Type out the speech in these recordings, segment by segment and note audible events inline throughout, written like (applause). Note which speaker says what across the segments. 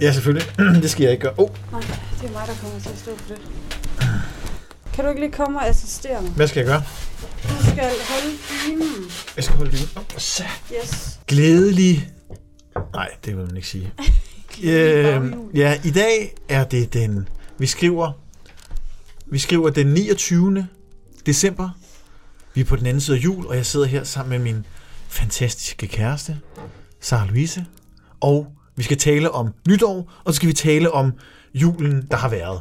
Speaker 1: Ja, selvfølgelig. (clears throat) det skal jeg ikke gøre. Oh,
Speaker 2: Nej, det er mig, der kommer til at stå for det. Kan du ikke lige komme og assistere mig?
Speaker 1: hvad skal jeg gøre?
Speaker 2: Du skal holde dynen.
Speaker 1: Jeg skal holde dynen op. Oh, så.
Speaker 2: Yes.
Speaker 1: Glædelig... Nej, det vil man ikke sige. øh, ja, i dag er det den... Vi skriver... Vi skriver den 29. december. Vi er på den anden side af jul, og jeg sidder her sammen med min fantastiske kæreste, Sara Louise. Og vi skal tale om nytår, og så skal vi tale om julen, der har været.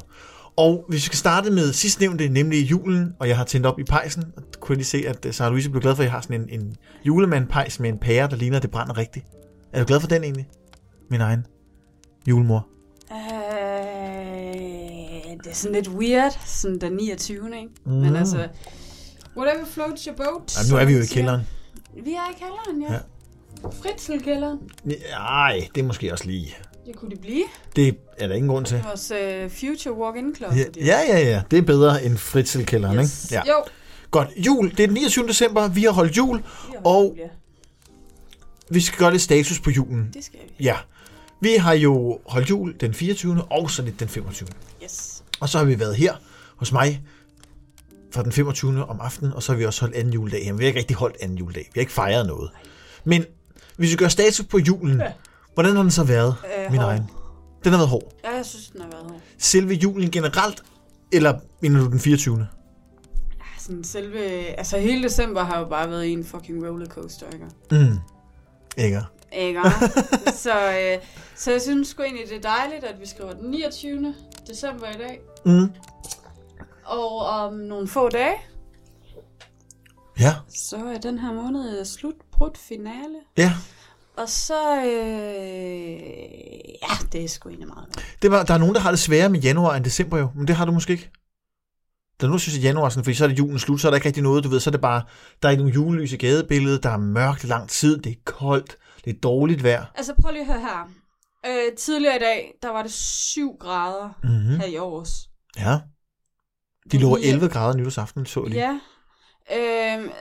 Speaker 1: Og vi skal starte med sidstnævnte, nemlig julen, og jeg har tændt op i pejsen. Og der kunne jeg lige se, at øh, Sara Louise blev glad for, at jeg har sådan en, en julemandpejs med en pære, der ligner, at det brænder rigtigt. Er du glad for den egentlig? Min egen julemor.
Speaker 2: Øh, det er sådan lidt weird, sådan den 29. Ikke? Mm. Men altså, whatever floats your boat.
Speaker 1: Ej, nu er vi jo i kælderen.
Speaker 2: Vi er i kælderen, ja.
Speaker 1: Ja.
Speaker 2: ja. Fritzelkælderen.
Speaker 1: Nej, det er måske også lige.
Speaker 2: Det kunne det blive.
Speaker 1: Det er der ingen grund til.
Speaker 2: Vores uh, future walk-in
Speaker 1: Ja,
Speaker 2: closet.
Speaker 1: ja, ja. ja. Det er bedre end fritzelkælderen,
Speaker 2: Yes.
Speaker 1: ikke? Ja.
Speaker 2: Jo.
Speaker 1: Godt. Jul. Det er den 29. december. Vi har holdt jul. Og-
Speaker 2: Ja,
Speaker 1: Vi skal gøre lidt status på julen.
Speaker 2: Det skal vi.
Speaker 1: Ja. Vi har jo holdt jul den 24. og så lidt den 25.
Speaker 2: Yes.
Speaker 1: Og så har vi været her hos mig fra den 25. om aftenen, og så har vi også holdt anden juledag hjemme. Vi har ikke rigtig holdt anden juledag. Vi har ikke fejret noget. Men hvis vi gør status på julen, ja. hvordan har den så været,
Speaker 2: Øh,
Speaker 1: min
Speaker 2: hård.
Speaker 1: egen? Den har været hård.
Speaker 2: Ja, jeg synes, den har været hård.
Speaker 1: Selve julen generelt, eller mener du den 24.
Speaker 2: Ja, Sådan selve... Altså, hele december har jo bare været en fucking rollercoaster, ikke?
Speaker 1: Mm. Ikke?
Speaker 2: (laughs) Ikke? så, øh, så jeg synes sgu egentlig, det er dejligt, at vi skriver den 29. december i dag.
Speaker 1: Mm.
Speaker 2: Og om nogle få dage,
Speaker 1: Ja,
Speaker 2: så er den her måned slut, brudt finale.
Speaker 1: ja.
Speaker 2: Og så, øh, ja, det er sgu egentlig meget.
Speaker 1: Det var, der er nogen, der har det sværere med januar end december jo, men det har du måske ikke. Der er nogen, der synes, at januar er sådan, fordi så er det julen slut, så er der ikke rigtig noget, du ved, så er det bare, der er ikke nogen julelys i gadebilledet, der er mørkt i lang tid, det er koldt, det er dårligt vejr.
Speaker 2: Altså, prøv lige at høre her. Øh, tidligere i dag, der var det 7 grader
Speaker 1: Mm-hmm.
Speaker 2: her i års.
Speaker 1: Ja. De lå
Speaker 2: Ja.
Speaker 1: 11 grader nytårsaften, så jeg lige.
Speaker 2: Ja. Øhm,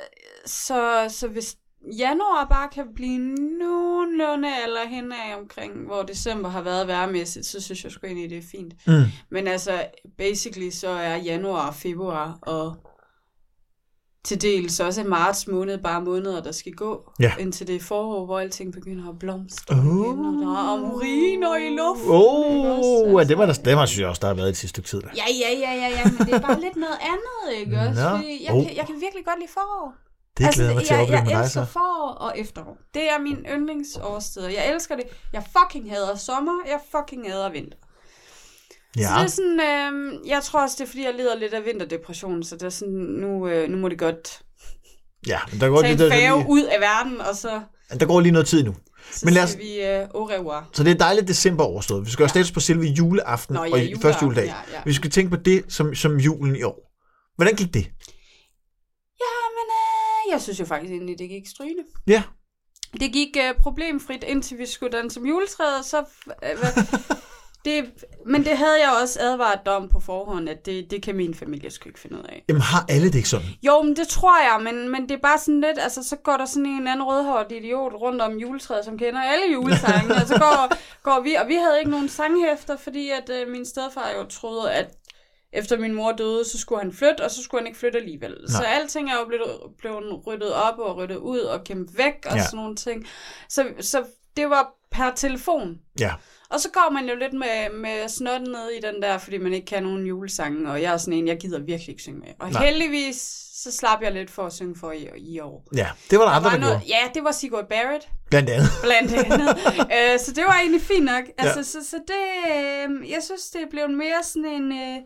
Speaker 2: så, så hvis januar bare kan blive nogenlunde eller henad omkring, hvor december har været værmæssigt, så synes jeg sgu egentlig, det er fint.
Speaker 1: Mm.
Speaker 2: Men altså, basically så er januar og februar og til dels også marts måned bare måneder, der skal gå,
Speaker 1: Ja.
Speaker 2: indtil det er forår, hvor alting begynder at blomstre
Speaker 1: Åh.
Speaker 2: igen, og der er amuriner i luften. ikke også?
Speaker 1: Åh, oh,
Speaker 2: Altså-
Speaker 1: det var der, det var, synes jeg også, der har været i det sidste stykke tid. Der.
Speaker 2: Ja, ja, ja, ja, ja, men det er bare lidt noget andet, ikke også?
Speaker 1: Nå.
Speaker 2: Fordi jeg,
Speaker 1: Oh.
Speaker 2: kan, jeg kan virkelig godt lide forår.
Speaker 1: Det glæder jeg mig
Speaker 2: Altså,
Speaker 1: til at
Speaker 2: jeg,
Speaker 1: opleve
Speaker 2: jeg
Speaker 1: med dig
Speaker 2: elsker
Speaker 1: så.
Speaker 2: forår og efterår. Det er min yndlingsårsteder. Jeg elsker det. Jeg fucking hader sommer. Jeg fucking hader vinter.
Speaker 1: Ja,
Speaker 2: Så det er sådan, øh, jeg tror også, det er, fordi jeg lider lidt af vinterdepression, så det er sådan, nu, øh, nu må det godt
Speaker 1: ja, men der går,
Speaker 2: tage
Speaker 1: lige,
Speaker 2: en
Speaker 1: der,
Speaker 2: færge
Speaker 1: der,
Speaker 2: ud af verden, og så,
Speaker 1: lige, der går lige noget tid nu.
Speaker 2: så
Speaker 1: Men lad os-
Speaker 2: siger vi øh, au revoir.
Speaker 1: Så det er dejligt december overstået. Vi skal gøre status på selve juleaften
Speaker 2: Nå, ja,
Speaker 1: og i-
Speaker 2: juleaften,
Speaker 1: første juledag.
Speaker 2: ja, ja.
Speaker 1: Vi skal tænke på det som, som julen i år. Hvordan gik det?
Speaker 2: Jamen, øh, jeg synes jo faktisk egentlig, det gik strygende.
Speaker 1: Ja,
Speaker 2: Det gik øh, problemfrit, indtil vi skulle danse som juletræet, og så... Øh, hvad- det, men det havde jeg også advaret dig om på forhånd, at det, det kan min familie sgu ikke finde ud af.
Speaker 1: jamen har alle det ikke sådan?
Speaker 2: Jo, men det tror jeg, men, men det er bare sådan lidt, altså så går der sådan en anden rødhåret idiot rundt om juletræet, som kender alle julesangene, og så går, går vi, og vi havde ikke nogen sanghæfter, fordi at øh, min stedfar jo troede, at efter min mor døde, så skulle han flytte, og så skulle han ikke flytte alligevel. Nej. Så alting er jo blevet, blevet ryddet op og ryddet ud og kæmpet væk og
Speaker 1: Ja.
Speaker 2: ja. sådan nogle ting. Så, så det var per telefon.
Speaker 1: Ja.
Speaker 2: Og så går man jo lidt med, med snotten ned i den der, fordi man ikke kan nogen julesange, og jeg er sådan en, jeg gider virkelig ikke synge med. Og
Speaker 1: Nej.
Speaker 2: Nej. heldigvis, så slap jeg lidt for at synge for i, i år.
Speaker 1: Ja, det var der andre,
Speaker 2: var
Speaker 1: der gjorde.
Speaker 2: ja, det var Sigurd Barrett,
Speaker 1: Blandt andet.
Speaker 2: blandt
Speaker 1: (laughs)
Speaker 2: andet. øh, så det var egentlig fint nok. Altså, ja. så, så det, øh, jeg synes, det blev mere sådan en, øh,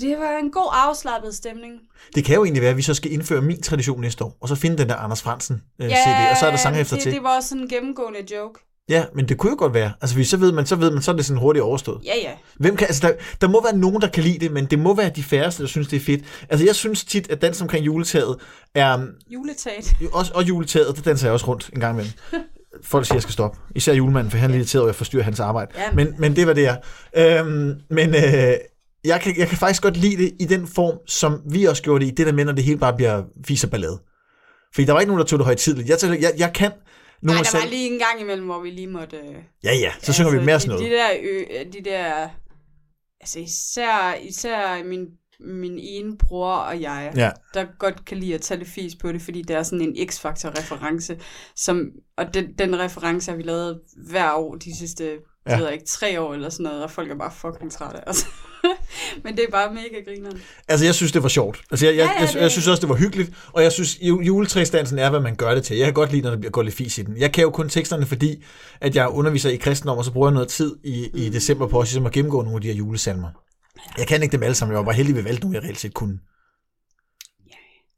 Speaker 2: det var en god afslappet stemning.
Speaker 1: Det kan jo egentlig være, at vi så skal indføre min tradition næste år, og så finde den der Anders Fransen øh, CD, og så er der sang efter
Speaker 2: det,
Speaker 1: til.
Speaker 2: det var også sådan en gennemgående joke.
Speaker 1: Ja, men det kunne jo godt være. Altså, hvis så ved man, så ved man, så er det sådan hurtigt overstået.
Speaker 2: Ja, ja.
Speaker 1: Hvem kan, altså der, der må være nogen, der kan lide det, men det må være de færreste, der synes, det er fedt. Altså, jeg synes tit, at dans omkring juletaget er, øhm,
Speaker 2: Juletat.
Speaker 1: Jo, også, og juletaget, det danser jeg også rundt en gang imellem. Folk siger, jeg skal stoppe. Især julemanden, for han er lidt irriteret, over, at jeg forstyrrer hans arbejde.
Speaker 2: Ja,
Speaker 1: men, men det var det, jeg. Øhm, men øh, jeg, kan, jeg kan faktisk godt lide det i den form, som vi også gjorde det i. Det der med, når det hele bare bliver vis og ballade. Fordi der var ikke nogen, der tog det højtidligt. Jeg, tænker, jeg, jeg kan
Speaker 2: Nej,
Speaker 1: af
Speaker 2: der
Speaker 1: selv-
Speaker 2: var lige en gang imellem, hvor vi lige måtte... Øh,
Speaker 1: Ja, ja, så synger vi mere sådan
Speaker 2: de,
Speaker 1: noget.
Speaker 2: de der, ø, øh, de der... Altså især, især min, min ene bror og jeg,
Speaker 1: Ja,
Speaker 2: der godt kan lide at tage lidt fis på det, fordi det er sådan en X-Factor-reference, som, og den, den reference har vi lavet hver år de sidste, ja.
Speaker 1: Ja.
Speaker 2: jeg ved ikke, tre år eller sådan noget, og folk er bare fucking trætte. Altså. (laughs) Men det er bare mega grineren.
Speaker 1: altså jeg synes, det var sjovt. Altså jeg, jeg,
Speaker 2: Ja, ja,
Speaker 1: jeg,
Speaker 2: det-
Speaker 1: jeg, jeg synes også, det var hyggeligt, og jeg synes, ju- juletræsdansen er, hvad man gør det til. Jeg kan godt lide, når der bliver går lidt fis i den. Jeg kan jo kun teksterne, fordi at jeg underviser i kristendom, og så bruger jeg noget tid i,
Speaker 2: Mm.
Speaker 1: i december på også ligesom at gennemgå nogle af de her julesalmer. Jeg kan ikke dem alle sammen, jeg var bare heldig ved valgte nogle, jeg reelt set kunne.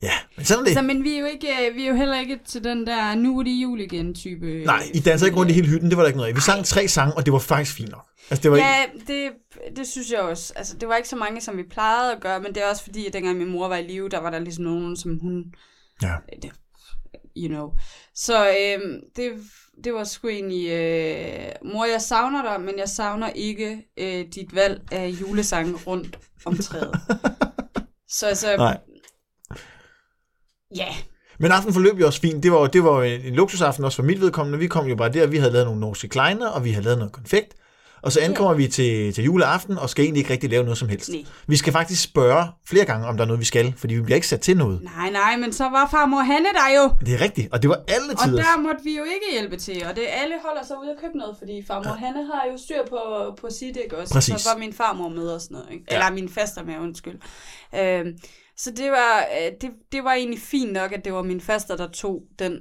Speaker 1: Ja, men sådan er det.
Speaker 2: Så, men vi er, jo ikke, øh, vi er jo heller ikke til den der, nu er det jul igen type. øh,
Speaker 1: Nej, I danser ikke rundt i hele hytten, det var der ikke noget af. Vi sang tre sange, og det var faktisk fint nok. Altså, det var ikke...
Speaker 2: Ja, det, det synes jeg også. Altså, det var ikke så mange, som vi plejede at gøre, men det er også fordi, at dengang min mor var i live, der var der ligesom nogen, som hun... øh,
Speaker 1: Ja.
Speaker 2: Det- You know. Så øhm, det, det var sgu egentlig... Øh, mor, jeg savner dig, men jeg savner ikke øh, dit valg af julesange rundt om
Speaker 1: (laughs)
Speaker 2: træet. så altså...
Speaker 1: Nej.
Speaker 2: Ja,
Speaker 1: Men aftenen forløb jo også fint. Det var, jo- det var jo en en luksusaften også for mit vedkommende. Vi kom jo bare der, vi havde lavet nogle norske kleiner, og vi havde lavet noget konfekt. Og så ankommer vi til, til juleaften, og skal egentlig ikke rigtig lave noget som helst.
Speaker 2: nej.
Speaker 1: Vi skal faktisk spørge flere gange, om der er noget, vi skal, fordi vi bliver ikke sat til noget.
Speaker 2: Nej, nej, men så var farmor Hanne der jo.
Speaker 1: Det er rigtigt, og det var alle
Speaker 2: Og
Speaker 1: tider.
Speaker 2: der måtte vi jo ikke hjælpe til, og det alle holder sig ude og købe noget, fordi farmor ja. Hanne har jo styr på, på sit, ikke også?
Speaker 1: Præcis.
Speaker 2: Så var min farmor med og sådan noget, ikke?
Speaker 1: Ja.
Speaker 2: Eller min faster med, undskyld. Øhm, så det var, øh, det, det var egentlig fint nok, at det var min faster, der tog den.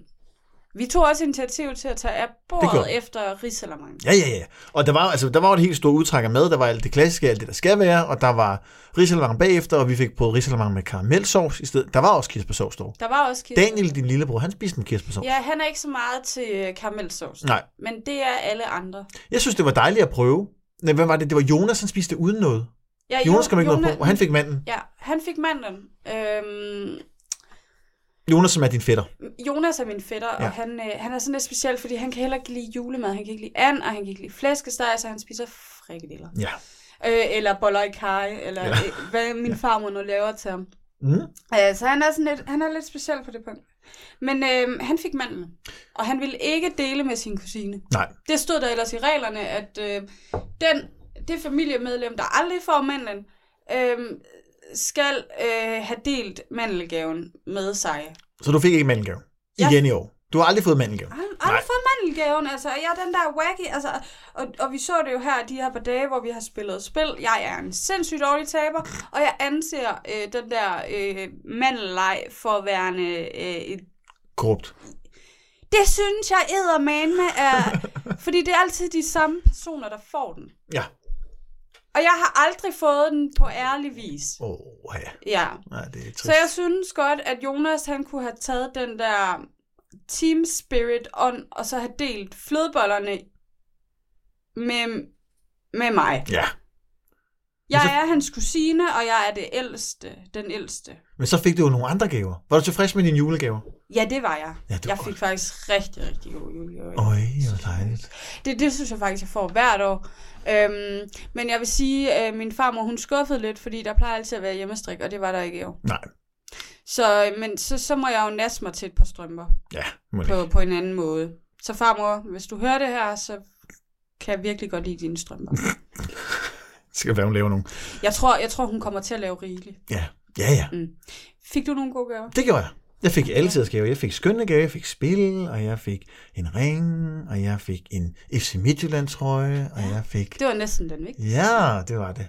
Speaker 2: Vi tog også initiativ til at tage af
Speaker 1: gjorde
Speaker 2: bordet
Speaker 1: vi.
Speaker 2: efter risalamande.
Speaker 1: Ja, ja, ja. Og der var, altså, der var jo et helt stort udtræk af mad. Der var alt det klassiske, alt det, der skal være. Og der var risalemang bagefter, og vi fik på risalemang med karamelsovs i stedet. Der var også kirsebærsovs dog.
Speaker 2: Der var også kirsebær.
Speaker 1: Daniel, din lillebror, han spiste med kirsebærsovs.
Speaker 2: Ja, han er ikke så meget til øh, karamelsauce,
Speaker 1: Nej,
Speaker 2: men det er alle andre.
Speaker 1: jeg synes, det var dejligt at prøve. Nej, hvad var det? Det var Jonas, han spiste uden noget.
Speaker 2: Ja,
Speaker 1: Jonas kom ikke noget
Speaker 2: Jonas-
Speaker 1: på, og han fik manden.
Speaker 2: Ja, han fik mandlen. Øhm,
Speaker 1: Jonas, som er din fætter.
Speaker 2: Jonas er min fætter, ja.
Speaker 1: Ja.
Speaker 2: og han, øh, han er sådan lidt speciel, fordi han kan heller ikke lide julemad, han kan ikke lide and, og han kan ikke lide flæskesteg, så han spiser frikadeller.
Speaker 1: Ja.
Speaker 2: Øh, eller boller i kaj, eller (laughs) ja.
Speaker 1: Ja.
Speaker 2: øh, hvad min farmor nu laver til ham.
Speaker 1: Mm.
Speaker 2: Øh, så han er, sådan lidt, han er lidt speciel på det punkt. Men øh, han fik mandlen, og han ville ikke dele med sin kusine.
Speaker 1: Nej,
Speaker 2: Det stod der ellers i reglerne, at øh, den, det familiemedlem, der aldrig får mandlen, øh, skal øh, have delt mandelgaven med sig.
Speaker 1: så du fik ikke mandelgave.
Speaker 2: Ja.
Speaker 1: Igen i år. Du har aldrig fået mandelgave.
Speaker 2: Ald- aldrig
Speaker 1: Nej.
Speaker 2: fået mandelgaven, altså. Og jeg er den der wacky, altså. Og, og vi så det jo her, de her par dage, hvor vi har spillet spil. Jeg er en sindssygt dårlig taber, og jeg anser øh, den der øh, mandelleg for værende... Øh, et-
Speaker 1: Korrupt.
Speaker 2: det synes jeg eddermane
Speaker 1: (laughs)
Speaker 2: er... fordi det er altid de samme personer, der får den.
Speaker 1: Ja.
Speaker 2: Og jeg har aldrig fået den på ærlig vis.
Speaker 1: Åh, oh, ja.
Speaker 2: Ja.
Speaker 1: Nej, det er trist.
Speaker 2: Så jeg synes godt, at Jonas han kunne have taget den der team spirit on, og så have delt flødebollerne med, med mig.
Speaker 1: Ja.
Speaker 2: Jeg
Speaker 1: Men så-
Speaker 2: er hans kusine, og jeg er det ældste, den ældste.
Speaker 1: Men så fik du jo nogle andre gaver. Var du tilfreds med dine julegaver?
Speaker 2: Ja, det var jeg.
Speaker 1: Ja, det var
Speaker 2: jeg
Speaker 1: godt.
Speaker 2: fik faktisk rigtig, rigtig god julegave.
Speaker 1: Øj, hvor dejligt.
Speaker 2: Det, det synes jeg faktisk, jeg får hvert år. Øhm, men jeg vil sige, at øh, min farmor hun skuffede lidt, fordi der plejer altid at være hjemmestrik, og det var der ikke i år.
Speaker 1: Nej,
Speaker 2: Så, øh, men så, så må jeg jo nasse mig til et par strømper.
Speaker 1: ja. Må
Speaker 2: på, på en anden måde. Så farmor, hvis du hører det her, så kan jeg virkelig godt lide dine strømper.
Speaker 1: Det skal være, hun laver nogle.
Speaker 2: Jeg tror, jeg tror hun kommer til at lave rigeligt.
Speaker 1: Ja, ja, ja.
Speaker 2: Fik du nogle gode gaver?
Speaker 1: Det gjorde jeg. Jeg fik altid gaver. Jeg fik skønne gaver, jeg fik spil, og jeg fik en ring, og jeg fik en FC Midtjylland trøje, og jeg fik...
Speaker 2: Det var næsten den vigtige.
Speaker 1: Ja, det var det.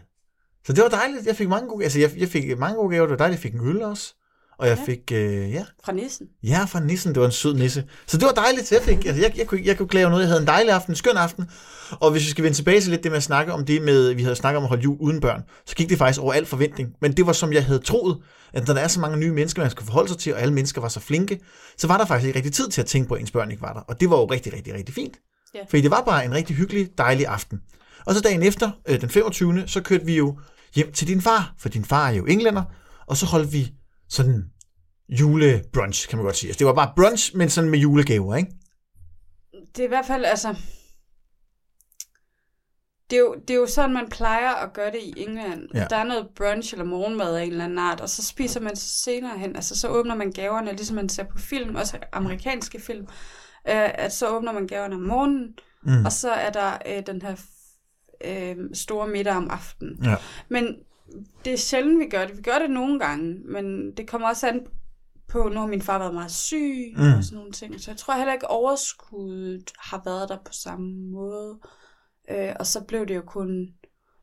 Speaker 1: Så det var dejligt. Jeg fik mange gode, altså jeg, jeg fik mange gode gaver. Det var dejligt. Jeg fik en øl også. Og jeg
Speaker 2: Ja.
Speaker 1: ja. fik, øh, ja,
Speaker 2: Fra nissen.
Speaker 1: ja, fra nissen. Det var en sød nisse. Så det var dejligt. Jeg, fik, altså jeg, jeg, kunne, jeg kunne klage noget. Jeg havde en dejlig aften, en skøn aften. Og hvis vi skal vende tilbage til lidt det med at snakke om det med, vi havde snakket om at holde jul uden børn, så gik det faktisk over al forventning. Men det var som jeg havde troet, at når der er så mange nye mennesker, man skal forholde sig til, og alle mennesker var så flinke, så var der faktisk ikke rigtig tid til at tænke på, at ens børn ikke var der. Og det var jo rigtig, rigtig, rigtig fint.
Speaker 2: Ja.
Speaker 1: Fordi det var bare en rigtig hyggelig, dejlig aften. Og så dagen efter, øh, den 25., så kørte vi jo hjem til din far, for din far er jo englænder, og så holdt vi sådan julebrunch, kan man godt sige. Altså, det var bare brunch, men sådan med julegaver, ikke?
Speaker 2: Det er i hvert fald, altså... Det er, jo, det er jo sådan, man plejer at gøre det i England.
Speaker 1: Ja.
Speaker 2: Der er noget brunch eller morgenmad af en eller anden art, og så spiser man senere hen. Altså, så åbner man gaverne, ligesom man ser på film, også amerikanske film. øh, at så åbner man gaverne om morgenen,
Speaker 1: Mm.
Speaker 2: og så er der øh, den her øh, store middag om aftenen.
Speaker 1: Ja.
Speaker 2: Men det er sjældent, vi gør det. Vi gør det nogle gange, men det kommer også an på, nu har min far været meget syg
Speaker 1: Mm.
Speaker 2: mm. og sådan nogle ting. Så jeg tror heller ikke, overskuddet har været der på samme måde. Øh, og så blev det jo kun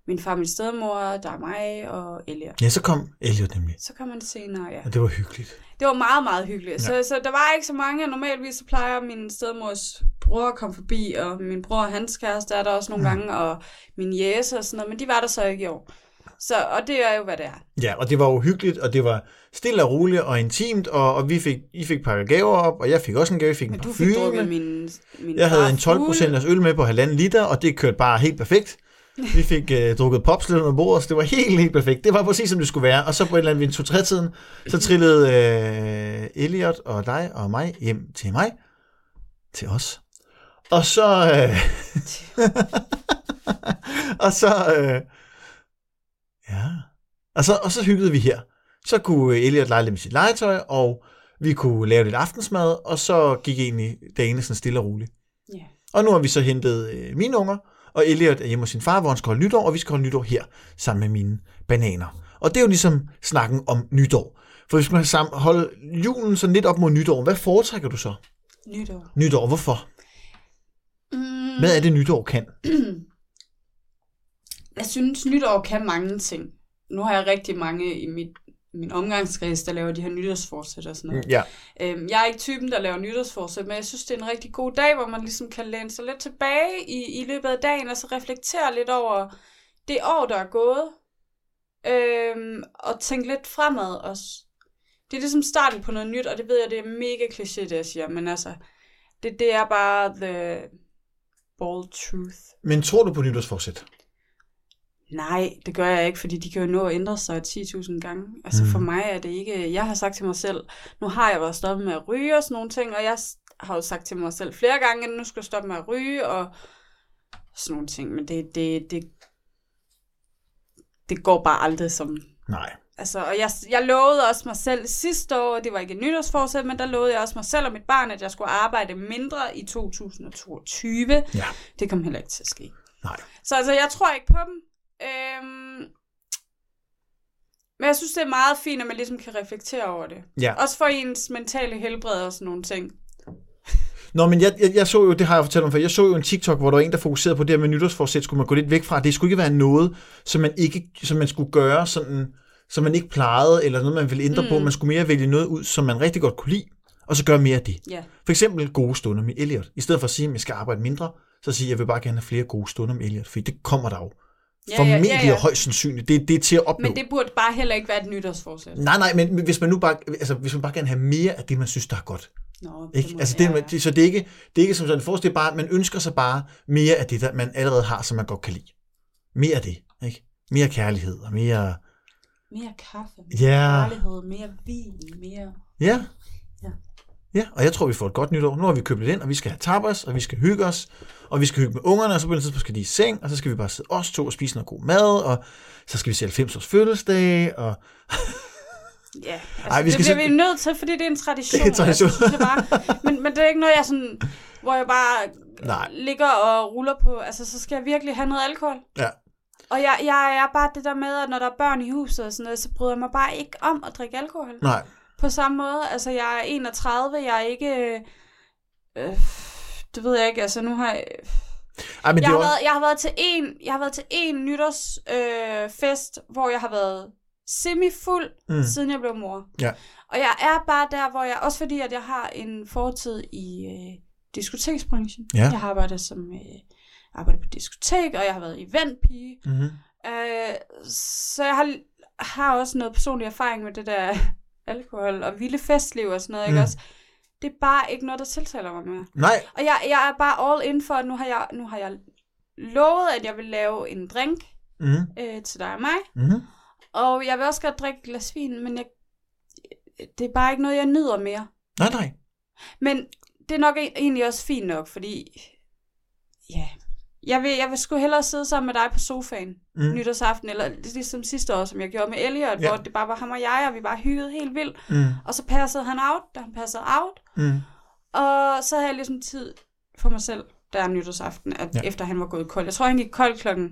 Speaker 2: min far, min stedmor, der er mig og Elliot.
Speaker 1: Ja, så kom Elliot nemlig.
Speaker 2: Så kom han senere, ja.
Speaker 1: Og det var hyggeligt.
Speaker 2: Det var meget, meget hyggeligt. Ja. Så, så der var ikke så mange. og Normalvis så plejer min stedmors bror at komme forbi, og min bror og hans kæreste er der også nogle gange, og min jæse og sådan noget, men de var der så ikke i år. Så, og det er jo, hvad det er.
Speaker 1: Ja, og det var jo hyggeligt, og det var stille og roligt og intimt, og, og vi fik, I fik pakket gaver op, og jeg fik også en gave, jeg fik en
Speaker 2: Men du
Speaker 1: parfume.
Speaker 2: fik drukket min, min
Speaker 1: Jeg havde en
Speaker 2: far
Speaker 1: 12
Speaker 2: fuld.
Speaker 1: øl med på halvanden liter, og det kørte bare helt perfekt. Vi fik øh, drukket pops lidt under bordet, så det var helt, helt perfekt. Det var præcis, som det skulle være. Og så på en eller anden vind 2-3-tiden, så trillede øh, Elliot og dig og mig hjem til mig, til os. Og så... Øh, (laughs) og så... Øh, ja. Og så, og så hyggede vi her. Så kunne øh, Elliot lege lidt med sit legetøj, og vi kunne lave lidt aftensmad, og så gik egentlig dagene sådan stille og roligt.
Speaker 2: Ja.
Speaker 1: Og nu har vi så hentet øh, mine unger, og Elliot er hjemme hos sin far, hvor han skal holde nytår, og vi skal holde nytår her, sammen med mine bananer. Og det er jo ligesom snakken om nytår. For hvis man sammen holde julen sådan lidt op mod nytår, hvad foretrækker du så?
Speaker 2: Nytår.
Speaker 1: Nytår, hvorfor?
Speaker 2: Mm,
Speaker 1: Hvad er det, nytår kan?
Speaker 2: jeg synes, nytår kan mange ting. Nu har jeg rigtig mange i mit, min omgangskreds, der laver de her nytårsforsæt og sådan noget.
Speaker 1: Ja,
Speaker 2: Øhm, jeg er ikke typen, der laver nytårsforsæt, men jeg synes, det er en rigtig god dag, hvor man ligesom kan læne sig lidt tilbage i, i løbet af dagen, og så reflektere lidt over det år, der er gået, øhm, og tænke lidt fremad også. Det er ligesom starten på noget nyt, og det ved jeg, det er mega kliché, det jeg siger, men altså, det, det er bare the bold truth.
Speaker 1: men tror du på nytårsforsæt?
Speaker 2: Nej, det gør jeg ikke, fordi de kan jo nå at ændre sig 10.000 gange. Altså
Speaker 1: Mm.
Speaker 2: mm. for mig er det ikke... Jeg har sagt til mig selv, nu har jeg været stoppet med at ryge og sådan nogle ting, og jeg s- har jo sagt til mig selv flere gange, at nu skal jeg stoppe med at ryge og sådan nogle ting. Men det, det, det, det går bare aldrig som...
Speaker 1: Nej.
Speaker 2: Altså, og jeg, jeg lovede også mig selv sidste år, det var ikke et nytårsforsæt, men der lovede jeg også mig selv og mit barn, at jeg skulle arbejde mindre i 2022.
Speaker 1: Ja.
Speaker 2: Det kom heller ikke til at ske.
Speaker 1: Nej.
Speaker 2: Så altså, jeg tror ikke på dem. Øhm, men jeg synes, det er meget fint, at man ligesom kan reflektere over det.
Speaker 1: Ja.
Speaker 2: Også for ens mentale helbred og sådan nogle ting.
Speaker 1: Nå, men jeg, jeg, jeg så jo, det har jeg fortalt om før, jeg så jo en TikTok, hvor der var en, der fokuserede på det her med nytårsforsæt, skulle man gå lidt væk fra. Det skulle ikke være noget, som man, ikke, som man skulle gøre sådan, som man ikke plejede, eller noget, man ville ændre mm. på. Man skulle mere vælge noget ud, som man rigtig godt kunne lide, og så gøre mere af det.
Speaker 2: Ja.
Speaker 1: For eksempel gode stunder med Elliot. I stedet for at sige, at jeg skal arbejde mindre, så sige, at jeg vil bare gerne have flere gode stunder med Elliot, for det kommer der jo.
Speaker 2: Ja, ja,
Speaker 1: Formentlig
Speaker 2: ja, ja.
Speaker 1: og højst sandsynligt. Det, det er til at opnå.
Speaker 2: Men det burde bare heller ikke være et nytårsforsæt.
Speaker 1: Nej, nej, men hvis man nu bare, altså, hvis man bare gerne vil have mere af det, man synes, der er godt.
Speaker 2: Nå,
Speaker 1: Ikke?
Speaker 2: må-
Speaker 1: Altså det,
Speaker 2: ja,
Speaker 1: man,
Speaker 2: ja.
Speaker 1: det, så det er, ikke, det er ikke som sådan en forskel, det er bare, at man ønsker sig bare mere af det, der man allerede har, som man godt kan lide. Mere af det, ikke? Mere kærlighed og mere...
Speaker 2: Mere kaffe, mere
Speaker 1: Ja,
Speaker 2: kærlighed, mere vin, mere...
Speaker 1: ja.
Speaker 2: Ja.
Speaker 1: Ja, og jeg tror, vi får et godt nytår. Nu har vi købt lidt ind, og vi skal have tapas, og vi skal hygge os, og vi skal hygge med ungerne, og så på et tidspunkt skal de i seng, og så skal vi bare sidde os to og spise noget god mad, og så skal vi se 90 års fødselsdag, og
Speaker 2: Ja, altså,
Speaker 1: Ej,
Speaker 2: Ej,
Speaker 1: vi
Speaker 2: vi
Speaker 1: skal
Speaker 2: det bliver
Speaker 1: selv-
Speaker 2: vi nødt til, fordi det er en tradition.
Speaker 1: (laughs) Det er en tradition.
Speaker 2: Altså, synes jeg bare. Men, men det er ikke noget, jeg sådan, hvor jeg bare
Speaker 1: Nej.
Speaker 2: ligger og ruller på. Altså, så skal jeg virkelig have noget alkohol.
Speaker 1: ja,
Speaker 2: Og jeg, jeg er bare det der med, at når der er børn i huset og sådan noget, så bryder jeg mig bare ikke om at drikke alkohol.
Speaker 1: nej,
Speaker 2: På samme måde, altså jeg er 31, jeg er ikke... Øh, det ved jeg ikke, altså nu har jeg...
Speaker 1: Ej, men
Speaker 2: Jeg
Speaker 1: det
Speaker 2: har,
Speaker 1: er også,
Speaker 2: været, jeg har været til en, jeg har været til en nytårsfest, øh, fest, hvor jeg har været semifuld,
Speaker 1: Mm.
Speaker 2: mm. siden jeg blev mor.
Speaker 1: Ja.
Speaker 2: Og jeg er bare der, hvor jeg, også fordi at jeg har en fortid i øh, diskoteksbranchen.
Speaker 1: Ja.
Speaker 2: Jeg har arbejdet som, øh, arbejdet på diskotek, og jeg har været eventpige.
Speaker 1: mm-hmm.
Speaker 2: Øh, så jeg har, har også noget personlig erfaring med det der (laughs) alkohol og vilde festliv og sådan noget, mm. ikke
Speaker 1: Mm.
Speaker 2: også? Det er bare ikke noget, der tiltaler mig mere.
Speaker 1: nej,
Speaker 2: Og jeg, jeg er bare all in for, at nu har jeg, nu har jeg lovet, at jeg vil lave en drink
Speaker 1: mm-hmm.
Speaker 2: øh, til dig og mig.
Speaker 1: Mm-hmm.
Speaker 2: Og jeg vil også godt drikke et glas vin, men jeg, det er bare ikke noget, jeg nyder mere.
Speaker 1: nej, nej,
Speaker 2: Men det er nok e- egentlig også fint nok, fordi... Ja, jeg vil, jeg vil sgu hellere sidde sammen med dig på sofaen
Speaker 1: Mm.
Speaker 2: mm. nytårsaften, eller ligesom sidste år, som jeg gjorde med Elliot,
Speaker 1: Ja.
Speaker 2: ja. hvor det bare var ham og jeg, og vi bare hyggede helt vildt.
Speaker 1: mm
Speaker 2: Og så passede han out, da han passede out,
Speaker 1: mm
Speaker 2: Og så havde jeg ligesom tid for mig selv, der er nytårsaften, at
Speaker 1: Ja.
Speaker 2: ja. efter han var gået kold. Jeg tror, han gik kold klokken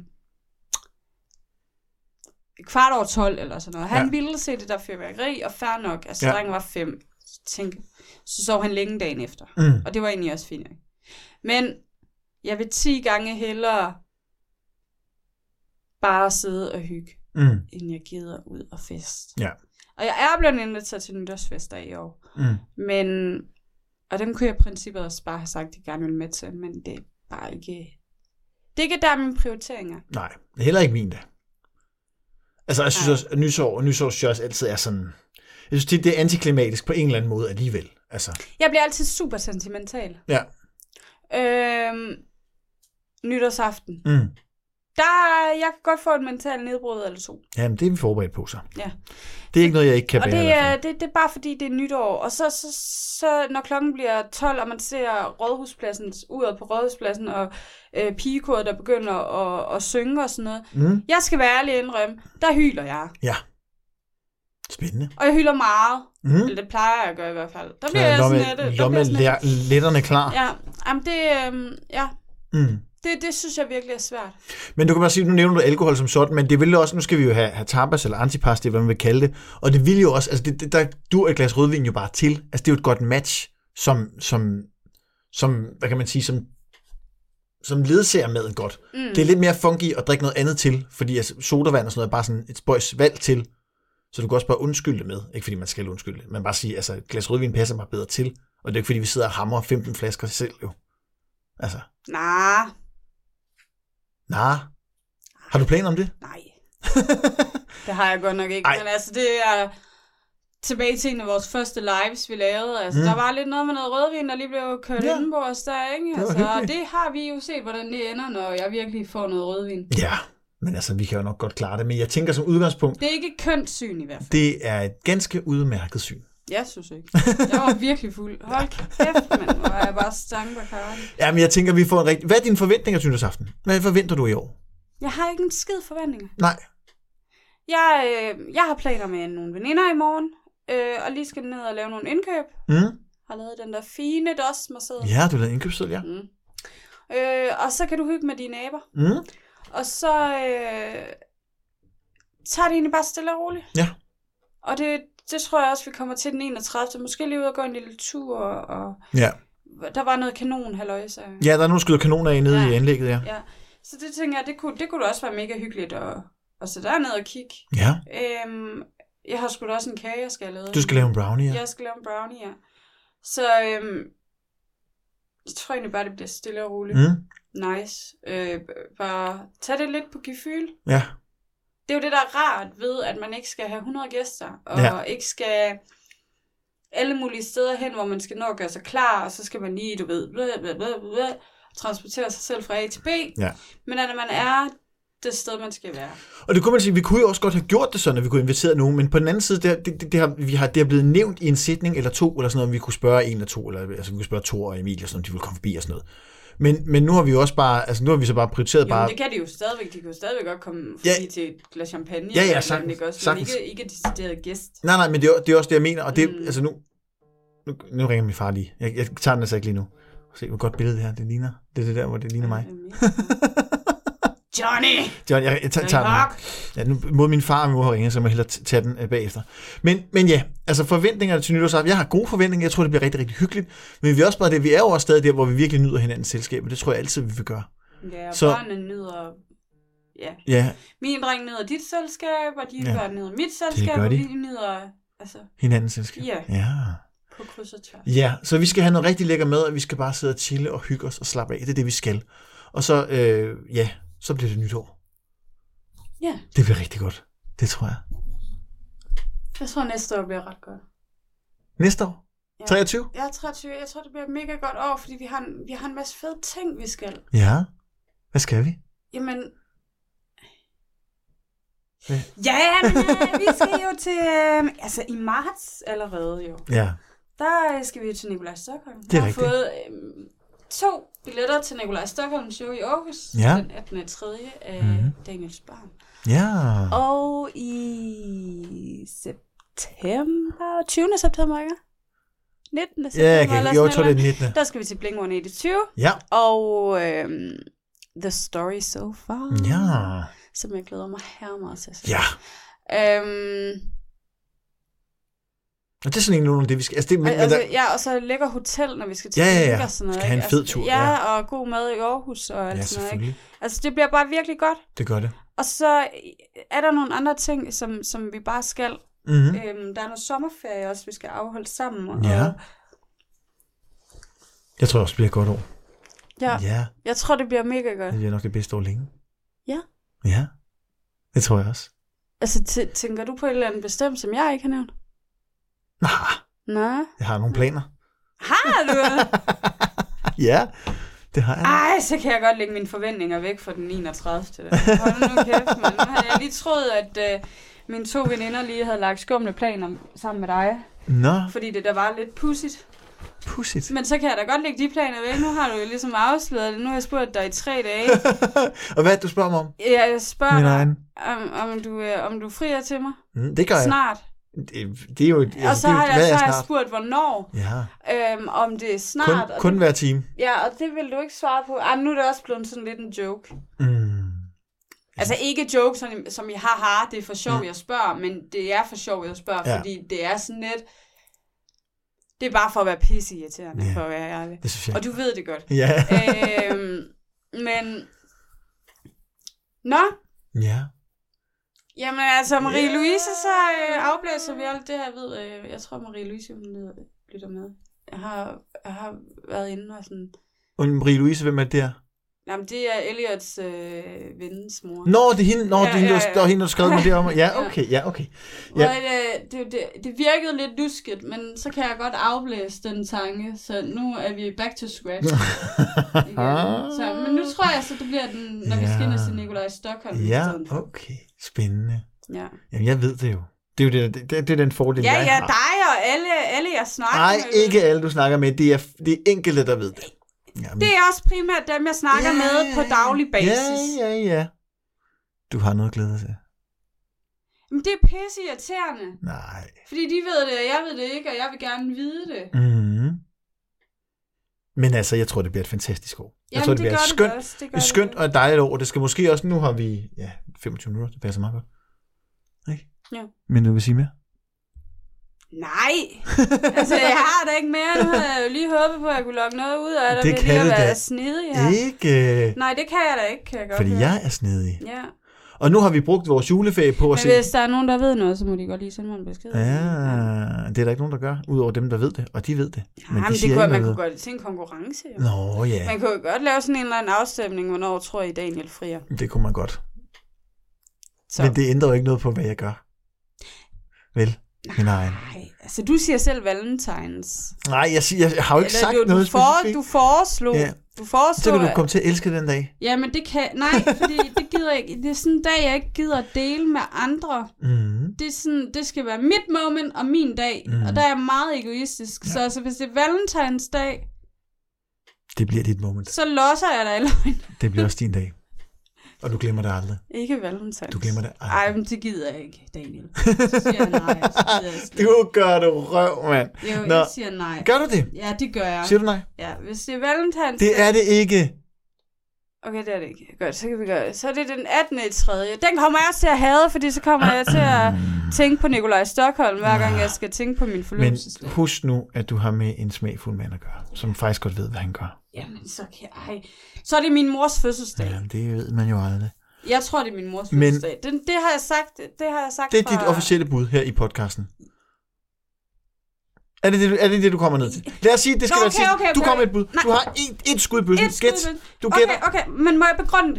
Speaker 2: kvart over 12 eller sådan noget. Han
Speaker 1: Ja.
Speaker 2: ja. ville se det der fyrværkeri, og fair nok, altså
Speaker 1: Ja.
Speaker 2: ja. drengen var fem. Så tænkte, så sov han længe dagen efter.
Speaker 1: Mm.
Speaker 2: Og det var egentlig også fint. nok. Men jeg vil 10 gange hellere bare sidde og hygge,
Speaker 1: Mm.
Speaker 2: end jeg gider ud og fest.
Speaker 1: Ja.
Speaker 2: Og jeg er blevet inviteret til nytårsfester i år.
Speaker 1: Mm.
Speaker 2: Men, og dem kunne jeg i princippet også bare have sagt, at jeg gerne ville med til, men det er bare ikke... Det er ikke der er mine prioriteringer.
Speaker 1: Nej, heller ikke min da. Altså, jeg synes
Speaker 2: Nej.
Speaker 1: også, at nysår, nysårsjørs altid er sådan... Jeg synes tit, det er antiklimatisk på en eller anden måde alligevel. Altså,
Speaker 2: Jeg bliver altid super sentimental.
Speaker 1: ja.
Speaker 2: Øhm, nytårsaften.
Speaker 1: Mm.
Speaker 2: Der, jeg kan godt få et mental nedbrud eller to.
Speaker 1: Jamen, det er vi forberedt på så.
Speaker 2: Ja.
Speaker 1: Det er ikke noget, jeg ikke kan
Speaker 2: Og
Speaker 1: bære.
Speaker 2: det
Speaker 1: i hvert fald.
Speaker 2: er, det, det er bare fordi, det er nytår. Og så, så, så når klokken bliver 12, og man ser rådhuspladsen, uret på rådhuspladsen, og øh, pigekoret, der begynder at, at synge og sådan noget.
Speaker 1: Mm.
Speaker 2: Jeg skal være ærlig og indrømme, der hyler jeg.
Speaker 1: Ja. Spændende.
Speaker 2: Og jeg hyler meget.
Speaker 1: Mm.
Speaker 2: Eller det plejer jeg at gøre i hvert fald. Der bliver
Speaker 1: Ja,
Speaker 2: jeg
Speaker 1: lomme,
Speaker 2: sådan lidt... der bliver
Speaker 1: lomme
Speaker 2: jeg sådan lidt-
Speaker 1: letterne klar.
Speaker 2: Ja, jamen det, øhm, ja.
Speaker 1: Mm.
Speaker 2: Det, det synes jeg virkelig er svært.
Speaker 1: Men du kan bare sige, nu nævner du alkohol som sådan, men det vil jo også, nu skal vi jo have, have tapas eller antipas, det er, hvad man vil kalde det, og det vil jo også, altså det, det, der dur et glas rødvin jo bare til, altså det er jo et godt match, som, som, som hvad kan man sige, som, som ledsager maden godt. Mm. Det er lidt mere funky at drikke noget andet til, fordi altså, sodavand og sådan noget er bare sådan et spøjs valg til, så du kan også bare undskylde det med, ikke fordi man skal undskylde det, men bare sige, altså et glas rødvin passer bare bedre til, og det er ikke fordi, vi sidder og hamrer 15 flasker selv jo. Altså,
Speaker 2: Nej,
Speaker 1: nej. Har du planer om det? (laughs)
Speaker 2: nej. det har jeg godt nok ikke.
Speaker 1: Ej.
Speaker 2: Ej. Men altså, det er tilbage til en af vores første lives, vi lavede. Altså,
Speaker 1: Mm.
Speaker 2: mm. der var lidt noget med noget rødvin, der lige blev kørt
Speaker 1: Ja.
Speaker 2: ja. indenbords der, ikke?
Speaker 1: var
Speaker 2: Altså, og
Speaker 1: hyggeligt.
Speaker 2: det har vi jo set, hvordan det ender, når jeg virkelig får noget rødvin.
Speaker 1: Ja, men altså, vi kan jo nok godt klare det. Men jeg tænker som udgangspunkt,
Speaker 2: Det er ikke et kønt syn i hvert fald.
Speaker 1: det er et ganske udmærket syn.
Speaker 2: Jeg synes ikke. Jeg var virkelig fuld. Hold kæft, mand. Hvor er jeg bare stank og karne.
Speaker 1: Jamen, jeg tænker, vi får en rigtig... Hvad er dine forventninger til nytårsaften? Hvad forventer du i år?
Speaker 2: Jeg har ikke en skid forventninger.
Speaker 1: Nej.
Speaker 2: Jeg, øh, jeg har planer med nogle veninder i morgen, øh, og lige skal ned og lave nogle indkøb.
Speaker 1: Mm?
Speaker 2: Har lavet den der fine dos marcel
Speaker 1: Ja, du lavede indkøbsseddel, ja.
Speaker 2: Mm. Øh, og så kan du hygge med dine naboer.
Speaker 1: Mm?
Speaker 2: Og så øh, tager det egentlig bare stille og roligt.
Speaker 1: Ja.
Speaker 2: Og det, det tror jeg også, vi kommer til den 31. Måske lige ud og gå en lille tur, og, og
Speaker 1: Ja.
Speaker 2: der var noget kanon, halløj, så...
Speaker 1: ja, der er nogle skyder kanoner af nede ja.
Speaker 2: Ja.
Speaker 1: i anlægget, ja.
Speaker 2: ja. Så det tænker jeg, det kunne, det kunne da også være mega hyggeligt at, at sætte derned og kigge.
Speaker 1: Ja,
Speaker 2: Øhm, jeg har sgu da også en kage, jeg skal have lavet.
Speaker 1: du skal lave en brownie, ja.
Speaker 2: Jeg skal lave en brownie, ja. Så øhm, jeg tror egentlig bare, det bliver stille og roligt.
Speaker 1: Mm?
Speaker 2: Nice. Øh, bare tag det lidt på gefyl.
Speaker 1: Ja,
Speaker 2: Det er jo det, der er rart ved, at man ikke skal have 100 gæster, og
Speaker 1: Ja.
Speaker 2: ja. ikke skal alle mulige steder hen, hvor man skal nå at gøre sig klar, og så skal man lige, du ved, bla, bla, bla, bla, transportere sig selv fra A til B.
Speaker 1: Ja.
Speaker 2: Men at man er det sted, man skal være.
Speaker 1: og det kunne man sige, vi kunne jo også godt have gjort det sådan, at vi kunne invitere nogen, men på den anden side, det, har- det, det, det, har, vi har, det er blevet nævnt i en sætning eller to, eller sådan noget, om vi kunne spørge en eller to, eller altså, vi kunne spørge Thor og Emil, og sådan, om de ville komme forbi og sådan noget. Men, men nu har vi jo også bare, altså nu har vi så bare prioriteret
Speaker 2: Jo,
Speaker 1: bare...
Speaker 2: men det kan de jo stadigvæk. De kan jo stadigvæk godt komme
Speaker 1: Ja.
Speaker 2: forbi ja. til et glas champagne.
Speaker 1: Ja, ja,
Speaker 2: eller et eller
Speaker 1: sagtens,
Speaker 2: andet, ikke også? Men
Speaker 1: sagtens.
Speaker 2: ikke, ikke decideret gæst.
Speaker 1: Nej, nej, men det er, det er også det, jeg mener. Og det, mm.
Speaker 2: Mm.
Speaker 1: altså nu, nu, nu ringer min far lige. Jeg, jeg tager den altså ikke lige nu. Se, hvor godt billede det her. Det ligner. Det er det der, hvor det ligner mig.
Speaker 2: Mm.
Speaker 1: (laughs)
Speaker 2: Johnny!
Speaker 1: John, jeg, jeg tager,
Speaker 2: Johnny
Speaker 1: tager
Speaker 2: Hawk!
Speaker 1: den. Ja, nu, mod min far og min mor har ringet, så jeg må hellere t- tage den øh, bagefter. Men, men ja, altså forventningerne til nytårsaften. Jeg har gode forventninger. Jeg tror, det bliver rigtig, rigtig hyggeligt. Men vi er også bare det. Vi er jo også stadig der, hvor vi virkelig nyder hinandens selskab. Og det tror jeg altid, vi vil gøre.
Speaker 2: Ja,
Speaker 1: Så-
Speaker 2: så... børnene nyder... Ja,
Speaker 1: Ja,
Speaker 2: min dreng nyder dit selskab, og dine
Speaker 1: Ja.
Speaker 2: ja. børn nyder mit selskab,
Speaker 1: gør
Speaker 2: og
Speaker 1: de.
Speaker 2: vi nyder altså,
Speaker 1: hinandens selskab.
Speaker 2: Ja.
Speaker 1: ja.
Speaker 2: på kryds og tværs.
Speaker 1: Ja, så vi skal have noget rigtig lækker med, og vi skal bare sidde og chille og hygge os og slappe af. Det er det, vi skal. Og så, øh, ja, så bliver det nytår.
Speaker 2: Ja,
Speaker 1: Det bliver rigtig godt. Det tror jeg.
Speaker 2: jeg tror næste år bliver ret godt.
Speaker 1: Næste år?
Speaker 2: Ja.
Speaker 1: 23?
Speaker 2: Jeg er 23, jeg tror det bliver et mega godt år, fordi vi har, en, vi har en masse fede ting, vi skal.
Speaker 1: Ja. Hvad skal vi?
Speaker 2: Jamen...
Speaker 1: Ja.
Speaker 2: Ja, men øh, vi skal jo til... Øh, altså i marts allerede jo.
Speaker 1: Ja.
Speaker 2: Der øh, skal vi jo til Nikolaj Stockholm.
Speaker 1: Det er
Speaker 2: jeg har
Speaker 1: rigtigt.
Speaker 2: fået øh, to billetter til Nikolaj Stockholm show i Aarhus.
Speaker 1: Ja.
Speaker 2: Den 18. 3. af
Speaker 1: Mhm.
Speaker 2: mm-hmm. Daniel Sparm.
Speaker 1: Ja.
Speaker 2: Og i september, 20. september, ikke? 19.
Speaker 1: Ja, jeg, kan, jo, jeg tror, det er den 19.
Speaker 2: Der skal vi til Blink-182
Speaker 1: Ja.
Speaker 2: og øhm, The Story So Far,
Speaker 1: Ja.
Speaker 2: som jeg glæder mig her meget til. at se.
Speaker 1: Ja.
Speaker 2: Øhm,
Speaker 1: Og det er sådan en nogenlunde det, vi skal... Altså, det, men, men
Speaker 2: altså,
Speaker 1: der,
Speaker 2: ja, og så lækker hotel, når vi skal til
Speaker 1: Ja, ja, ja.
Speaker 2: Blink og sådan noget.
Speaker 1: Skal have
Speaker 2: ikke?
Speaker 1: en fed
Speaker 2: Altså,
Speaker 1: tur,
Speaker 2: Ja,
Speaker 1: ja.
Speaker 2: og god mad i Aarhus og alt
Speaker 1: ja,
Speaker 2: sådan noget. Ikke?
Speaker 1: selvfølgelig.
Speaker 2: Altså, det bliver bare virkelig godt.
Speaker 1: Det gør det.
Speaker 2: Og så er der nogle andre ting, som, som vi bare skal.
Speaker 1: Mm-hmm.
Speaker 2: Øhm, der er noget sommerferie også, vi skal afholde sammen. Og,
Speaker 1: Ja. Jeg tror også, det bliver et godt år.
Speaker 2: ja.
Speaker 1: ja. Mm.
Speaker 2: Jeg tror, det bliver mega godt.
Speaker 1: Det bliver nok det bedste år længe.
Speaker 2: Ja.
Speaker 1: Ja. Det tror jeg også.
Speaker 2: Altså, tæ- tænker du på et eller andet bestemt, som jeg ikke har nævnt?
Speaker 1: Nej,
Speaker 2: Nej.
Speaker 1: jeg har
Speaker 2: Mm.
Speaker 1: nogle planer.
Speaker 2: Har du?
Speaker 1: (laughs) ja, det har jeg. nok.
Speaker 2: Ej, så kan jeg godt lægge mine forventninger væk for den 31. Der. Hold nu kæft, mand. Nu havde jeg lige troet, at øh, mine to veninder lige havde lagt skumle planer sammen med dig.
Speaker 1: Nå,
Speaker 2: Fordi det der var lidt pudsigt.
Speaker 1: pudsigt. (laughs)
Speaker 2: Men så kan jeg da godt lægge de planer væk. Nu har du jo ligesom afsløret det. Nu har jeg spurgt dig i tre dage.
Speaker 1: Og hvad er det, du spørger mig om?
Speaker 2: Jeg spørger
Speaker 1: Min
Speaker 2: dig,
Speaker 1: egen.
Speaker 2: om, om, du, øh, om du frier til mig
Speaker 1: Mm, det gør jeg.
Speaker 2: snart.
Speaker 1: Det, det er jo...
Speaker 2: og så
Speaker 1: det er
Speaker 2: har
Speaker 1: jo,
Speaker 2: jeg,
Speaker 1: hvad
Speaker 2: så
Speaker 1: er
Speaker 2: har jeg
Speaker 1: snart?
Speaker 2: spurgt, hvornår.
Speaker 1: Ja,
Speaker 2: Øhm, om det er snart.
Speaker 1: kun,
Speaker 2: og
Speaker 1: kun
Speaker 2: det,
Speaker 1: hver time.
Speaker 2: Ja, og det vil du ikke svare på. Ej, men nu er det også blevet sådan lidt en joke.
Speaker 1: Mm.
Speaker 2: Altså ikke joke, som, som i haha, det er for sjov, jeg spørger, men det er for sjov, jeg spørger,
Speaker 1: Mm. Ja.
Speaker 2: ja. fordi det er sådan lidt... Det er bare for at være pisseirriterende,
Speaker 1: Ja.
Speaker 2: for at være ærlig.
Speaker 1: Det synes jeg.
Speaker 2: Og du ved det godt.
Speaker 1: (laughs) Ja.
Speaker 2: øhm, men... Nå,
Speaker 1: ja.
Speaker 2: Jamen altså, Marie-Louise, så øh, afblæser vi alt det her ved. Øh, jeg tror, Marie-Louise, hun lyder- lytter med. Jeg har, jeg har været inde og sådan...
Speaker 1: Og Marie-Louise, hvem er det der?
Speaker 2: Jamen, det er Elliots øh, vens mor.
Speaker 1: Nå, det er hende, Nå,
Speaker 2: Ja,
Speaker 1: det er hende,
Speaker 2: ja,
Speaker 1: der,
Speaker 2: ja.
Speaker 1: der, er hende, der
Speaker 2: (laughs)
Speaker 1: skrev mig derom. Ja, okay, ja, okay.
Speaker 2: Ja. Og, øh, det, det, det virkede lidt lusket, men så kan jeg godt afblæse den tanke, så nu er vi back to
Speaker 1: (laughs)
Speaker 2: scratch igen. Så, men nu tror jeg, så det bliver den, når vi skal ind og
Speaker 1: Ja.
Speaker 2: se Nikolaj Stockholm i
Speaker 1: Ja,
Speaker 2: stedet. for.
Speaker 1: okay. Spændende.
Speaker 2: Ja.
Speaker 1: Jamen, jeg ved det jo. Det er jo det, det, det er den fordel,
Speaker 2: ja,
Speaker 1: jeg
Speaker 2: ja,
Speaker 1: har.
Speaker 2: dig og alle, alle jeg snakker
Speaker 1: Nej,
Speaker 2: med.
Speaker 1: ikke alle, du snakker med. Det er, det er enkelte, der ved det. Jamen,
Speaker 2: Det er også primært dem, jeg snakker
Speaker 1: ja,
Speaker 2: med på daglig basis.
Speaker 1: Ja, ja, ja. Du har noget at glæde dig til.
Speaker 2: Men det er pisse irriterende.
Speaker 1: Nej.
Speaker 2: Fordi de ved det, og jeg ved det ikke, og jeg vil gerne vide det.
Speaker 1: Mm. Men altså, jeg tror, det bliver et fantastisk år. jeg
Speaker 2: Jamen,
Speaker 1: tror, det, bliver
Speaker 2: gør
Speaker 1: et skønt,
Speaker 2: det også. Det gør
Speaker 1: et skønt
Speaker 2: det.
Speaker 1: og et dejligt år. Det skal måske også, nu har vi ja, 25 minutter, det passer meget godt. Ikke?
Speaker 2: Ja.
Speaker 1: Men du vil sige mere?
Speaker 2: Nej! Altså, jeg har da ikke mere. Nu havde jeg jo lige håbet på, at jeg kunne lokke noget ud af det.
Speaker 1: Det
Speaker 2: Det
Speaker 1: kan
Speaker 2: kan
Speaker 1: du
Speaker 2: lige at være
Speaker 1: da
Speaker 2: snedig her.
Speaker 1: Ikke,
Speaker 2: Nej, det kan jeg da ikke, kan jeg godt
Speaker 1: fordi
Speaker 2: høre.
Speaker 1: jeg er snedig.
Speaker 2: Ja.
Speaker 1: Og nu har vi brugt vores juleferie på at
Speaker 2: Men
Speaker 1: se...
Speaker 2: hvis der er nogen, der ved noget, så må de godt lige sende mig en besked.
Speaker 1: Ja, det er der ikke nogen, der gør, udover dem, der ved det, og de ved det.
Speaker 2: Men, Jamen, det
Speaker 1: siger
Speaker 2: kunne,
Speaker 1: ikke
Speaker 2: man
Speaker 1: noget.
Speaker 2: kunne godt til en konkurrence. Jo.
Speaker 1: Nå ja,
Speaker 2: Man kunne jo godt lave sådan en eller anden afstemning, hvornår tror I Daniel frier.
Speaker 1: det kunne man godt.
Speaker 2: Så.
Speaker 1: Men det ændrer jo ikke noget på, hvad jeg gør. Vel, min egen.
Speaker 2: Nej, altså du siger selv valentines.
Speaker 1: Nej, jeg, siger, jeg har jo ikke sagt
Speaker 2: du,
Speaker 1: noget
Speaker 2: du, for, du foreslog.
Speaker 1: Ja.
Speaker 2: Ja. Du foreslog.
Speaker 1: Så kan du
Speaker 2: at-
Speaker 1: komme til at elske den dag.
Speaker 2: Jamen det kan... Nej, fordi det gider jeg ikke. Det er sådan en dag, jeg ikke gider at dele med andre.
Speaker 1: Mm.
Speaker 2: Det, er sådan, det skal være mit moment og min dag.
Speaker 1: Mhm.
Speaker 2: Mm. Og der er jeg meget egoistisk. Ja. Så altså, hvis det er valentines dag,
Speaker 1: Det bliver dit moment.
Speaker 2: så losser jeg dig i løgn.
Speaker 1: Det bliver også din dag. Og du glemmer det aldrig.
Speaker 2: (laughs) Ikke valentines.
Speaker 1: Du glemmer det aldrig.
Speaker 2: Ej, men det gider jeg ikke, Daniel. Så siger jeg nej. Så gider jeg slet
Speaker 1: Du
Speaker 2: ikke.
Speaker 1: gør det røv, mand.
Speaker 2: Jo,
Speaker 1: Nå.
Speaker 2: jeg siger nej.
Speaker 1: Gør du det?
Speaker 2: Ja, det gør jeg.
Speaker 1: Siger du nej?
Speaker 2: Ja, hvis det er valentines
Speaker 1: Det er det ikke.
Speaker 2: Okay, det er det ikke. Godt, så kan vi gøre det. Så er det den 18. i 3. Den kommer jeg også til at hade, fordi så kommer jeg til at
Speaker 1: Mm.
Speaker 2: tænke på Nikolaj Stockholm, hver gang jeg skal tænke på min
Speaker 1: Ah. Men
Speaker 2: forløbelsesdag.
Speaker 1: husk nu, at du har med en smagfuld mand at gøre, som faktisk godt ved, hvad han gør.
Speaker 2: Jamen, så kan jeg... Ej. Så er det min mors fødselsdag.
Speaker 1: Ja, det ved man jo aldrig.
Speaker 2: Jeg tror, det er min mors
Speaker 1: Men-
Speaker 2: fødselsdag. Den, det har jeg sagt, det har jeg sagt
Speaker 1: Det er dit
Speaker 2: fra-
Speaker 1: officielle bud her i podcasten. Er det det, du- er det, det du kommer ned til? Lad os sige, det skal
Speaker 2: Nå,
Speaker 1: være
Speaker 2: okay,
Speaker 1: sidst.
Speaker 2: okay,
Speaker 1: Du
Speaker 2: okay.
Speaker 1: kommer med et bud. Du har et, et skud i bøssen.
Speaker 2: Et skud i
Speaker 1: Gæt.
Speaker 2: bøssen.
Speaker 1: Du gætter.
Speaker 2: Okay, okay, men må jeg begrunde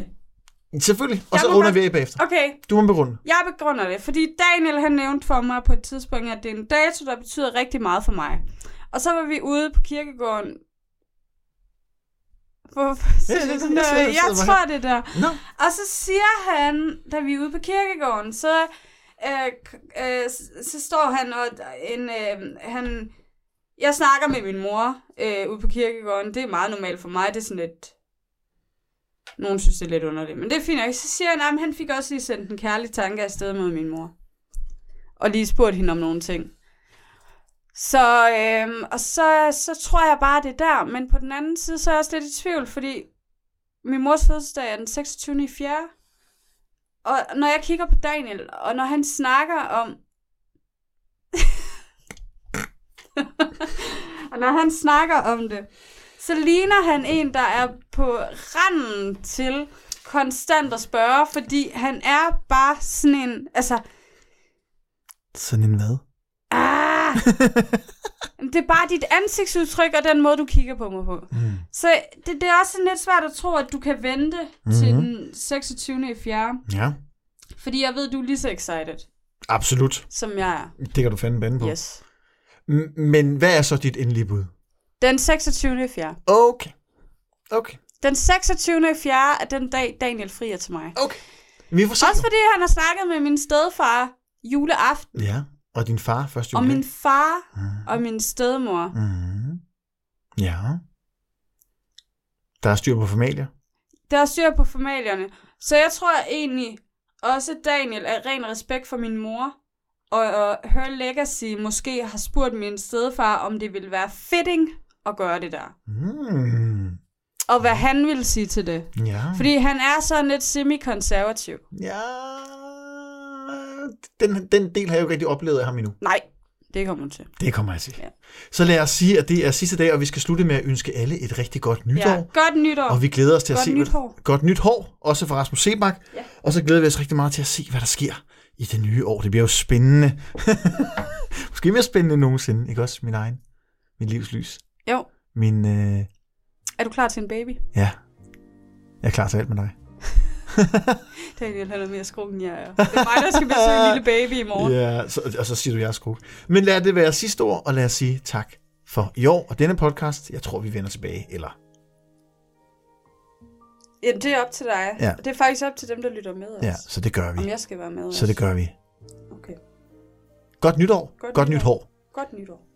Speaker 2: det?
Speaker 1: Selvfølgelig. Og
Speaker 2: Jeg
Speaker 1: så
Speaker 2: må
Speaker 1: runder
Speaker 2: godt-
Speaker 1: vi af bagefter.
Speaker 2: Okay,
Speaker 1: Du må begrunde.
Speaker 2: jeg begrunder det, fordi Daniel han nævnte for mig på et tidspunkt, at det er en dato, der betyder rigtig meget for mig. Og så var vi ude på kirkegården. Hvorfor siger
Speaker 1: det-
Speaker 2: du
Speaker 1: det-
Speaker 2: sådan
Speaker 1: jeg sidder-
Speaker 2: noget?
Speaker 1: jeg sidder
Speaker 2: Jeg
Speaker 1: bare
Speaker 2: tror det der.
Speaker 1: Nå.
Speaker 2: Og så siger han, da vi er ude på kirkegården, så, øh, k- øh, s- så står han og en, øh, han, jeg snakker med min mor øh, ude på kirkegården. Det er meget normalt for mig. Det er sådan lidt... Nogen synes, det er lidt underligt, men det er fint nok. Så siger han, at han fik også lige sendt en kærlig tanke afsted mod min mor. Og lige spurgt hende om nogle ting. Så, øhm, og så, så tror jeg bare, det er der. Men på den anden side, så er jeg også lidt i tvivl, fordi min mors fødselsdag er den 26. i 4. Og når jeg kigger på Daniel, og når han snakker om... (laughs) og når han snakker om det, så ligner han en, der er på randen til konstant at spørge, fordi han er bare sådan en... Altså,
Speaker 1: Sådan en hvad?
Speaker 2: ah, det er bare dit ansigtsudtryk og den måde, du kigger på mig på.
Speaker 1: (laughs) Mm.
Speaker 2: Så det, det er også sådan lidt svært at tro, at du kan vente mm-hmm. til den 26. i 4.
Speaker 1: Ja,
Speaker 2: Fordi jeg ved, du er lige så excited,
Speaker 1: absolut.
Speaker 2: som jeg er.
Speaker 1: Det kan du fandme bande på.
Speaker 2: Yes.
Speaker 1: M- Men hvad er så dit endelige bud?
Speaker 2: Den 26. i 4.
Speaker 1: Okay. Okay.
Speaker 2: Den 26. i 4. er den dag, Daniel frier til mig.
Speaker 1: Okay. Vi får se.
Speaker 2: Også
Speaker 1: jo.
Speaker 2: fordi han har snakket med min stedfar juleaften,
Speaker 1: Ja, og din far første
Speaker 2: og
Speaker 1: jule.
Speaker 2: min far og min stedmor.
Speaker 1: Mm. Ja. Der er styr på familier.
Speaker 2: Der er styr på formalierne. Så jeg tror egentlig også, Daniel er ren respekt for min mor. Og, og Her Legacy måske har spurgt min stedfar, om det ville være fitting at gøre det der.
Speaker 1: Mm.
Speaker 2: Og hvad han ville sige til det.
Speaker 1: Ja.
Speaker 2: Fordi han er sådan lidt semi-konservativ.
Speaker 1: Ja. Den, den del har jeg jo ikke rigtig oplevet af ham endnu.
Speaker 2: Nej, det kommer hun til.
Speaker 1: Det kommer jeg til.
Speaker 2: Ja.
Speaker 1: Så lad os sige, at det er sidste dag, og vi skal slutte med at ønske alle et rigtig godt nytår.
Speaker 2: Ja, godt nytår.
Speaker 1: Og vi glæder os til at
Speaker 2: Godt
Speaker 1: se...
Speaker 2: nyt
Speaker 1: hvad-
Speaker 2: hår.
Speaker 1: Godt nyt hår, også for Rasmus Sebak.
Speaker 2: Ja.
Speaker 1: Og så glæder vi os rigtig meget til at se, hvad der sker i det nye år. Det bliver jo spændende. (laughs) Måske mere spændende end nogensinde, ikke også? Min egen. Mit livs lys.
Speaker 2: Jo,
Speaker 1: Min, øh,
Speaker 2: er du klar til en baby?
Speaker 1: ja. Jeg er klar til alt med dig.
Speaker 2: Daniel, han er mere skrukken, end jeg er. Det er mig, der skal besøge en lille baby i morgen.
Speaker 1: Ja, så, og så siger du, jeg er skru. Men lad det være sidste ord, og lad os sige tak for i år og denne podcast. Jeg tror, vi vender tilbage, eller
Speaker 2: Ja, det er op til dig.
Speaker 1: Ja.
Speaker 2: Det er faktisk op til dem, der lytter med os.
Speaker 1: ja, så det gør vi.
Speaker 2: Om jeg skal være med
Speaker 1: Så
Speaker 2: også.
Speaker 1: det gør vi.
Speaker 2: Okay.
Speaker 1: Godt nytår.
Speaker 2: Godt
Speaker 1: Godt nyt
Speaker 2: nytår.
Speaker 1: hår.
Speaker 2: Godt nytår.